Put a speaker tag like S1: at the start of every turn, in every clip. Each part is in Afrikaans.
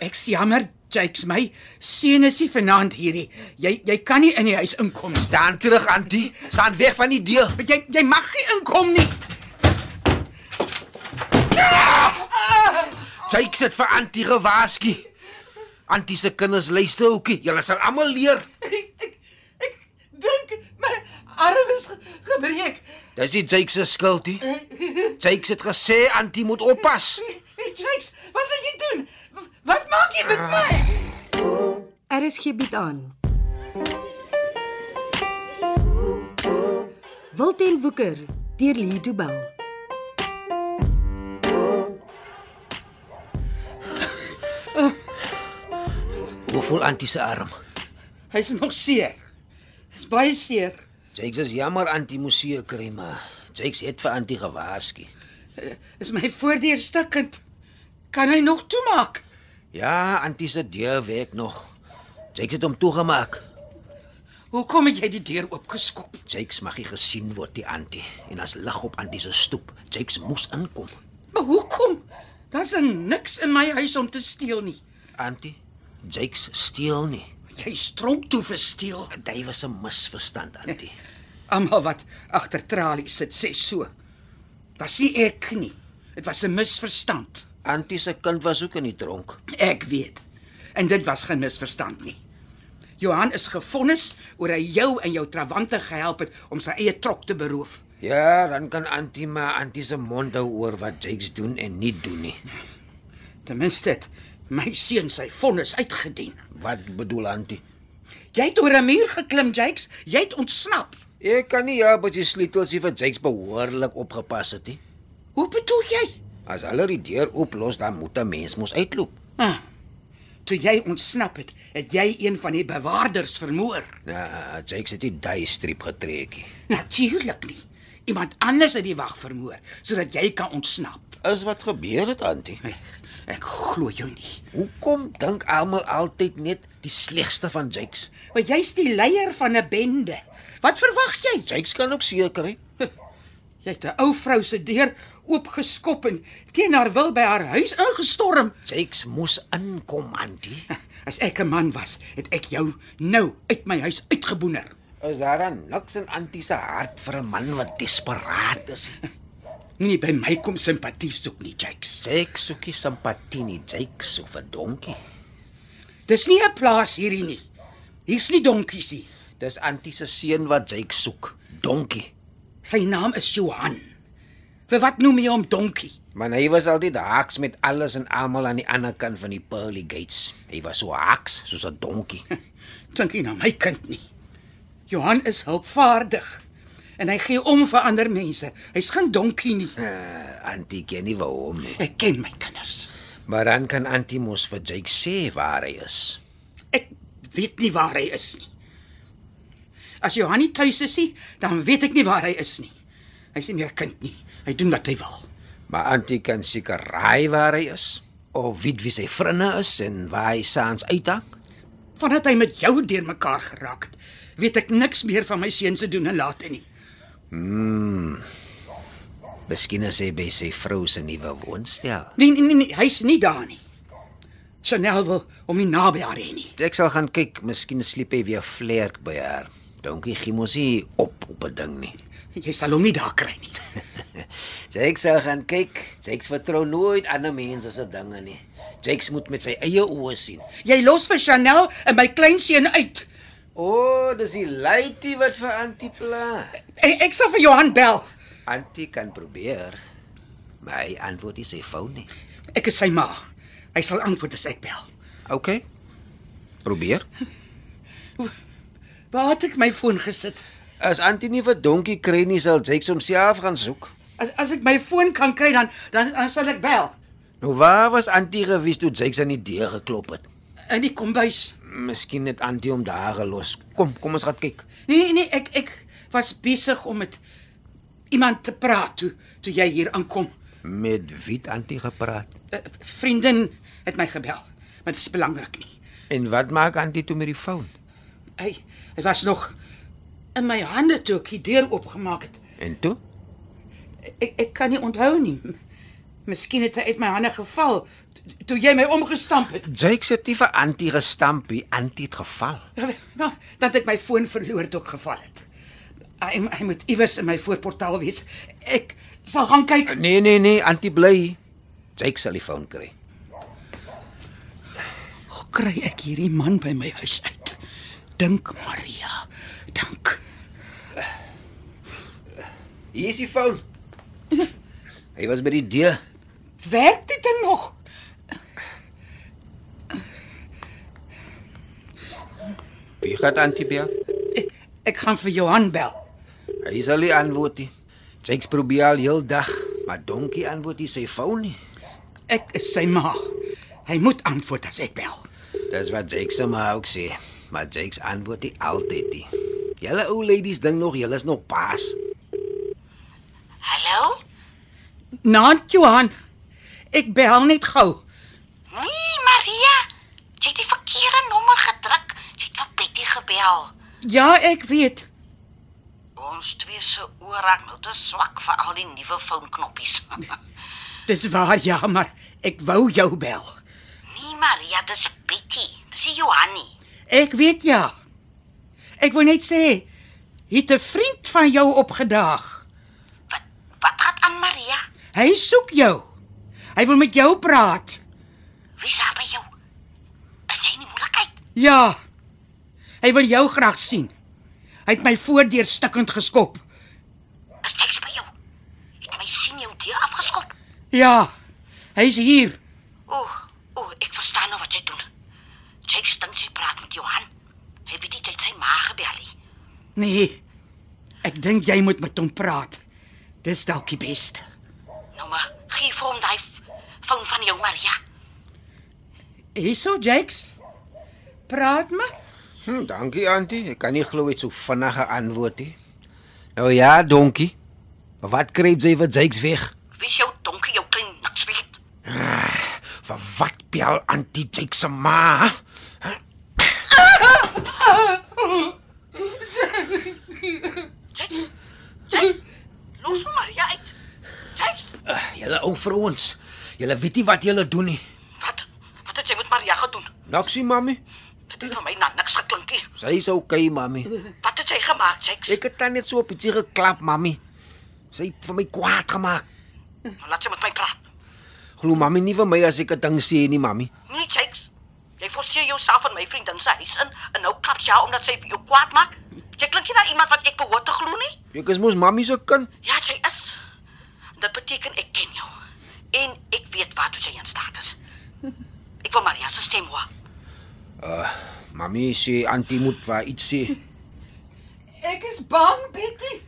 S1: Ek's jammer, Jakes my. Seun is nie vanaand hierdie. Jy jy kan nie in die huis inkom staan.
S2: Staan terug, Antie. Staan weg van die deur.
S1: Jy jy mag nie inkom nie.
S2: Jake sit vir Antie gewaarsku. Antie se kinders luister ookie. Julle sal almal leer.
S3: Dink my arm is ge- gebreek.
S2: Dis nie Jake se skuld nie. Jake het gesê Antie moet oppas.
S3: Jakes, wat wil jy doen? W- Wat maak jy met my?
S4: RSG bied Er aan. Wilten Woeker deur Lee Du Bell.
S2: Hoe voel Antie se arm?
S1: Hy's nog seer. Dis baie seer.
S2: Jake is jammer Antie moes seer kry, maar Jake het vir Antie gewaarsku.
S1: Is my voordeur stukkend. Kan hy nog toemaak?
S2: Ja, Antie se deur werk nog. Jake het hom toegemaak.
S1: Hoekom het jy die deur oopgeskop?
S2: Jake mag nie gesien word die Antie en as lig op Antie se stoep. Jake moes inkom.
S1: Maar hoekom? Daar's niks in my huis om te steel nie.
S2: Antie, Jake steel nie.
S1: Jy stromp toe vir steel.
S2: Dit was 'n misverstand, Antie.
S1: Almal wat agter tralies sit sê so. Was nie ek nie. Dit was 'n misverstand.
S2: Antie se kind was ook in die tronk.
S1: Ek weet. En dit was geen misverstand nie. Johan is gefonnis oor hy jou en jou trawante gehelp het om sy eie trok te beroof.
S2: Ja, dan kan Antie maar Antie se mond hou oor wat Jakes doen en nie doen nie.
S1: Ten minste het my seun sy vonnis uitgedien.
S2: Wat bedoel Antie?
S1: Jy het oor 'n muur geklim, Jakes. Jy het ontsnap.
S2: Ek kan nie ja, but die sleutels hier vir Jakes behoorlik opgepas het nie.
S1: Hoe bedoel jy?
S2: As hulle die deur ooplos, dan moet 'n mens mos uitloop.
S1: Ah, toe jy ontsnap het, het jy een van die bewaarders vermoor.
S2: Ja, Jakes het die daai strip getrek. nie.
S1: Natuurlik nie. Iemand anders het die wag vermoor sodat jy kan ontsnap.
S2: Is wat gebeur het, Antie?
S1: Ek, Nee, ek glo jou nie.
S2: Hoekom dink almal altyd net die slegste van Jakes?
S1: Maar jy's die leier van 'n bende. Wat verwag jy?
S2: Jakes kan ook seker hy.
S1: Jy het 'n ou vrou se deur oopgeskop en teen haar wil by haar huis ingestorm.
S2: Jakes moes inkom, Antie.
S1: As ek 'n man was, het ek jou nou uit my huis uitgeboener.
S2: Is daar dan niks in Antie se hart vir 'n man wat desperaat is? nie?
S1: Moenie by my kom simpatie soek nie, Jakes.
S2: Jake soek nie simpatie nie, Jake soek vir donkie.
S1: Dis nie 'n plaas hierdie nie. Hier's nie donkies nie.
S2: Dis Antie se seun wat Jake soek, donkie.
S1: Sy naam is Johan. Vir wat noem jy hom donkie?
S2: Maar hy was altyd haaks met alles en almal aan die ander kant van die pearly gates. Hy was so haaks soos 'n donkie.
S1: Dink nie na my kind nie. Johan is hulpvaardig en hy gee om vir ander mense. Hy's geen donkie nie.
S2: Uh, Antie ken nie waarom nie.
S1: Ek ken my kinders.
S2: Maar dan kan Antie mos vir Jake sê waar hy is.
S1: Ek weet nie waar hy is nie. As Johan nie tuis is nie, dan weet ek nie waar hy is nie. Hy's nie meer kind nie. Hy doen wat hy wil.
S2: Maar Antie kan seker raai waar hy is of weet wie sy vriende is en waar hy saans uithang.
S1: Vandat hy met jou deurmekaar geraak het, weet ek niks meer van my seun se doen en late nie.
S2: Hmm. Miskien is hy by sy vrou se nuwe woonstel.
S1: Nee nee nee, nee hy's nie daar nie. Chanel wil hom nie naby haar hê nie.
S2: Ek sal gaan kyk, miskien sliep hy weer vlerk by haar. Donkie gee mos nie op op 'n ding nie.
S1: Jy sal hom nie daar kry nie.
S2: Jake sal gaan kyk. Jake vertrou nooit ander mense se dinge nie. Jake moet met sy eie oë sien.
S1: Jy los vir Chanel en my kleinseun uit.
S2: O, oh, dis die laity wat vir Antie pla.
S1: En ek sal vir Johan bel.
S2: Antie kan probeer, maar hy antwoord nie sy foon nie.
S1: Ek is sy ma. Hy sal antwoord as ek bel.
S2: OK. Probeer.
S1: Waar het ek my foon gesit?
S2: As Antie nie vir Donkie kry nie, sal Jake homself gaan soek.
S1: As as ek my foon kan kry dan dan dan sal ek bel
S2: Nou waar was Antie gewees toe Jake aan die deur geklop het?
S1: in die kombuis.
S2: Miskien het Antie hom daar gelos. Kom, kom ons gaan kyk.
S1: Nee nee, ek ek was besig om met iemand te praat toe toe jy hier aankom.
S2: Met wie het Antie gepraat?
S1: 'n Eh, Vriendin het my gebel, maar dit is belangrik nie.
S2: En wat maak Antie toe met die foon?
S1: Hy hy was nog in my hande toe ek die deur oopgemaak het.
S2: En toe?
S1: Ek ek kan nie onthou nie. M- Miskien het hy uit my hande geval t- toe jy my omgestamp het.
S2: Jake se tiefe antie gestampie, antie het geval.
S1: Nou, dat ek my foon verloor toe ek geval het. Hy hy moet iewers in my voorportaal wees. Ek sal gaan kyk.
S2: Nee nee nee, antie bly. Jake sal die foon kry.
S1: Hoe kry ek hierdie man by my huis uit? Dink Maria. Dink.
S2: Hier is die foon. Hy was by die deur.
S1: Werk dit ding nog?
S2: Wie gaan antie bel?
S1: Ek, ek gaan vir Johan bel.
S2: Hy sal nie antwoord nie. Jake probeer al heel dag, maar donkie antwoord nie sy foon nie.
S1: Ek is sy ma. Hy moet antwoord as ek bel.
S2: Dis wat Jake se ma ook sê, maar Jake se antwoord nie altyd nie. Julle ou ladies ding nog, julle is nog paas.
S3: Hallo?
S1: Naand Johan. Ek bel net gou.
S3: Nee, Maria. Jy het die verkeerde nommer gedruk. Jy het vir Betty gebel.
S1: Ja, ek weet.
S3: Ons twee se oor raak nou te swak vir al die nuwe Nee, foonknoppies.
S1: Dis waar ja, maar ek wou jou bel.
S3: nee, Maria, dis Betty. Dis nie Johanni.
S1: Ek weet ja. Ek wil net sê, het 'n vriend van jou opgedaag.
S3: Wat wat gaan aan Maria?
S1: Hy soek jou. Hy wil met jou praat.
S3: Wie sê by jou? Is jy in die moeilikheid?
S1: Ja. Hy wil jou graag sien. Hy het my voordeur stikkend geskop.
S3: Is jy by jou? Het my sien jou deur afgeskop.
S1: Ja. Hy's hier.
S3: O, o, ek verstaan nou wat jy doen. Jake dink jy praat met Johan. Hy weet nie jy het sy ma gebel nie.
S1: Nee. Ek dink jy moet met hom praat. Dis dalk die beste.
S3: Nou maar, gee vir hom daai f- foon van jou Maria.
S1: Hierso, Jakes. Praat maar.
S2: Hm, dankie antie. Ek kan nie glo dit so vinnig geantwoord nie. Nou ja, donkie. Maar wat kry jy vir Jake se weg? Ah,
S3: Wie's jou donkie jou klein niks weet?
S2: Vir wat bel antie Jake se ma?
S3: Jake. Jake. Los hom Maria uit. Jake.
S2: Uh, julle ou vrouens, julle weet nie wat julle doen nie.
S3: Wat? Wat het jy met Maria gedoen?
S2: Naksie mami.
S3: Dit het vir my na niks geklink nie.
S2: Sy's okay mami.
S3: Wat het jy gemaak, Jake?
S2: Ek het dan net so op ietsie geklap mami. Sy het vir my kwaad gemaak.
S3: Nou laat jy met my praat.
S2: Glo mami nie vir my as ek 'n ding sê nie mami.
S3: Nee, Jakes. Jy forceer jouself aan my vriendin se huis in en nou klap jy haar omdat sy vir jou kwaad maak. Jy klink nie na iemand wat ek behoort te glo nie.
S2: Ek is mos mami se kind.
S3: Ja, jy is. Dit beteken ek ken jou. En ek weet wat jy in staat is. Ek wil Maria se stem hoor.
S2: Mami sê antie moet vir iets sê.
S1: Ek is bang, Betty.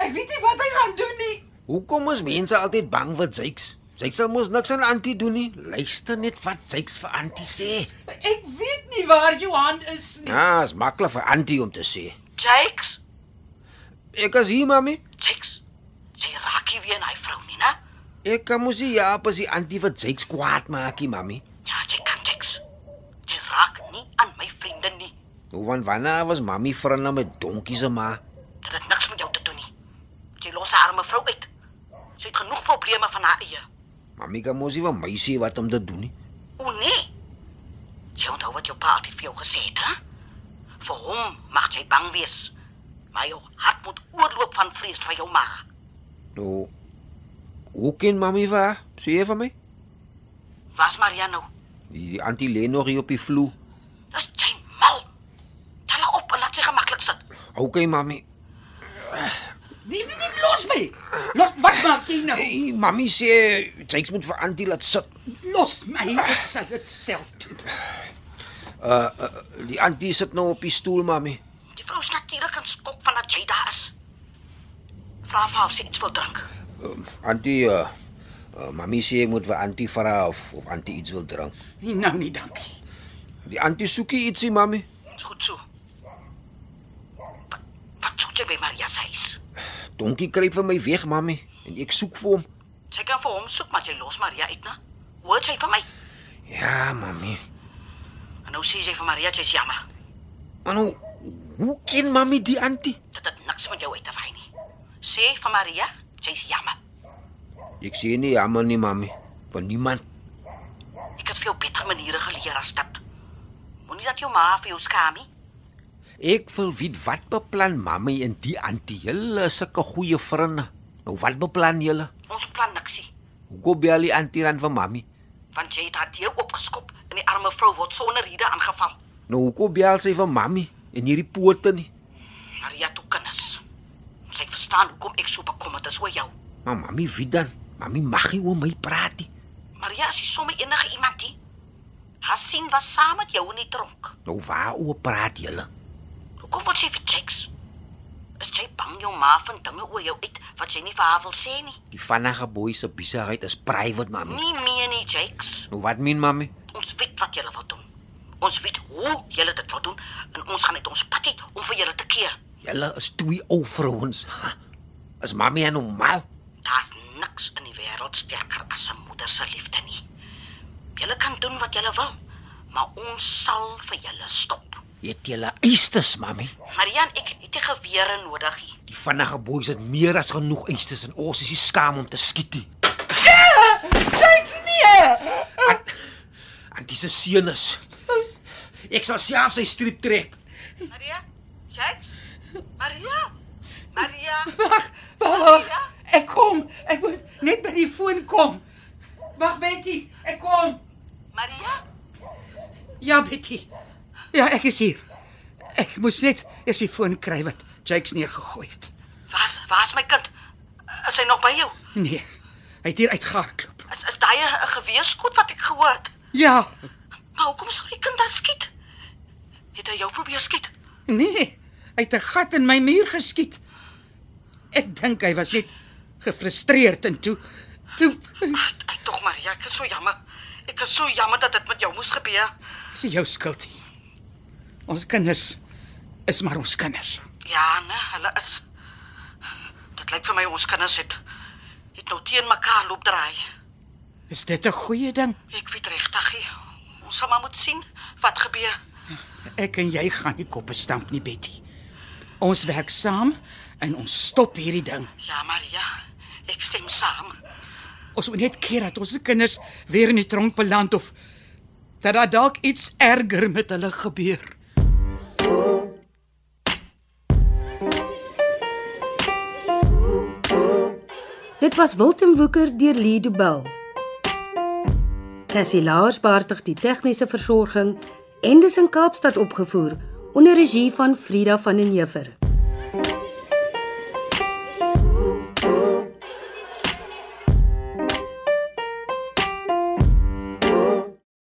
S1: Ek weet nie wat hy gaan doen nie.
S2: Hoekom is mense altyd bang vir Jakes? Jakes sal mos niks aan Antie doen nie. Luister net wat Jakes vir Antie sê.
S1: Ek weet nie waar Johan is nie.
S2: Ja, is maklik vir Antie om te sê.
S3: Jakes,
S2: Ek is hier, mami.
S3: Jakes. Jy raak hier weer in daai vrou nie, né?
S2: Ek kan mos nie ja pas die Antie vir Jakes kwaad maak nie, mami.
S3: Ja, jy kan Jakes. Jy raak nie aan my vriendin nie.
S2: Hoe van wanneer was mami vriende met donkie se ma?
S3: Dit het niks met jou te doen nie. Jy los haar mevrou uit. Sy het genoeg probleme van haar eie.
S2: Mami kan mos nie vir my sê wat om te doen nie.
S3: O nee. Jy onthou wat jou pa altyd vir jou gesê het, hè? Vir hom mag jy bang wees. Maar jou hart moet oorloop van vrees vir jou ma.
S2: Nou, hoe ken mami vir? Sê jy vir my?
S3: Waar's Maria nou?
S2: Die Antie lê nog hier op die vloer.
S3: Dis jy mal. Tel haar op en laat sy gemaklik sit.
S2: Okay, mami.
S1: Nee, nee, nee, los my. Los, wat maak jy nou?
S2: Hey, mami sê Jakes moet vir Antie laat sit.
S1: Los my. Ek sal dit self doen.
S2: Uh, uh, die antie sit nou op die stoel, mami.
S3: Die vrou's natuurlik in skok van dat jy daar is. Vra vir haar of sy iets wil drink.
S2: Uh, antie, uh, uh, mami sê ek moet vir antie vra of of antie iets wil drink.
S1: Nee, nou nie, dankie.
S2: Die antie soekie ietsie, mami.
S3: Dis goed so. Wat, wat soek jy by Maria se huis?
S2: Donkie kruip vir my weg, mami, en ek soek vir hom.
S3: Sy kan vir hom soek, maar jy los Maria uit, né? Hoor sy vir my?
S2: Ja, mami.
S3: En nou sê jy vir Maria jy's jammer.
S2: Maar nou, hoe ken mami die antie?
S3: Dit het niks met jou uit te wy nie. Sê vir Maria, jy's jammer.
S2: Ek sê nie jammer nie, mami. Van niemand.
S3: Ek het veel beter maniere geleer as dit. Moenie dat jou ma vir jou skamie.
S2: Ek wil weet wat beplan mammy en die antie? Hulle is sulke goeie vriende. Nou wat beplan julle?
S3: Ons plan niksie,
S2: Hoekom bel die antie dan vir mammy?
S3: want jy het haar deur oopgeskop en die arme vrou word sonder rede aangeval.
S2: Nou hoekom bel sy vir mammy en hierdie poorte nie?
S3: Maria toe kinders. Sy verstaan hoekom ek so bekommerd is oor jou.
S2: Maar mammy weet dan. Mammy mag nie oor my praat nie.
S3: Maria is nie sommer enige iemand nie. Haar sien was saam met jou in die tronk.
S2: Nou waaroor praat julle?
S3: Hoekom word sy vir Jakes? Is jy bang jou ma vind dinge oor jou uit wat jy nie vir haar wil sê nie?
S2: Die vannige boy se besigheid is private, mammy.
S3: Nie meer nie, Jakes.
S2: Nou wat meen mammy?
S3: Ons weet wat julle wil doen. Ons weet hoe julle dit wil doen en ons gaan uit ons pad uit om vir julle te keer.
S2: Julle is twee ou vrouens. Ha, Is mammy en normaal?
S3: Daar's niks in die wêreld sterker as 'n moeder se liefde nie. Julle kan doen wat julle wil, maar ons sal vir julle stop.
S2: Het julle eistes, mammy?
S3: Marian, ek het nie gewere nodig nie.
S2: Die vannige boys het meer as genoeg eistes en ons is nie skaam om te skiet nie.
S5: Jakes nee.
S2: En dis 'n seunus. Ek sal self sy striep trek.
S3: Maria? Jakes? Maria? Maria?
S1: Wag, wag. Ek kom. Ek moet net by die foon kom. Wag, Betty. Ek kom.
S3: Maria?
S1: Ja, Betty. Ja, ek is hier. Ek moes net eers die foon kry wat Jakes neergegooi het.
S3: Waar's waar's my kind? Is hy nog by jou?
S1: Nee. Hy het hier uitgehardloop.
S3: Is is daai 'n geweerskoot wat ek gehoor het?
S1: Ja.
S3: Maar hoekom sou die kind dan skiet? Het hy jou probeer skiet?
S1: Nee. Hy het 'n gat in my muur geskiet. Ek dink hy was net gefrustreerd en toe toe
S3: Ag, Ek tog Maria, ek is so jammer. Ek is so jammer dat dit met jou moes gebeur.
S1: is nie jou skuld nie. Ons kinders is maar ons kinders.
S3: Ja, nee, hulle is Dit lyk vir my ons kinders het het nou teen mekaar loop draai.
S1: Is dit 'n goeie ding?
S3: Ek weet regtig. nie. Ons sal maar moet sien wat gebeur.
S1: Ek en jy gaan nie koppe stamp nie, Betty. Ons werk saam en ons stop hierdie ding.
S3: Ja, Maria, ek stem saam.
S1: Ons moet net keer dat ons se kinders weer in die tronk beland of dat daar dalk iets erger met hulle gebeur.
S4: Dit was Wilten Woeker deur Lido Bell. Cassie Lars beheerdig die tegniese versorging en dis in Kaapstad opgevoer onder regie van Frida van den Heever.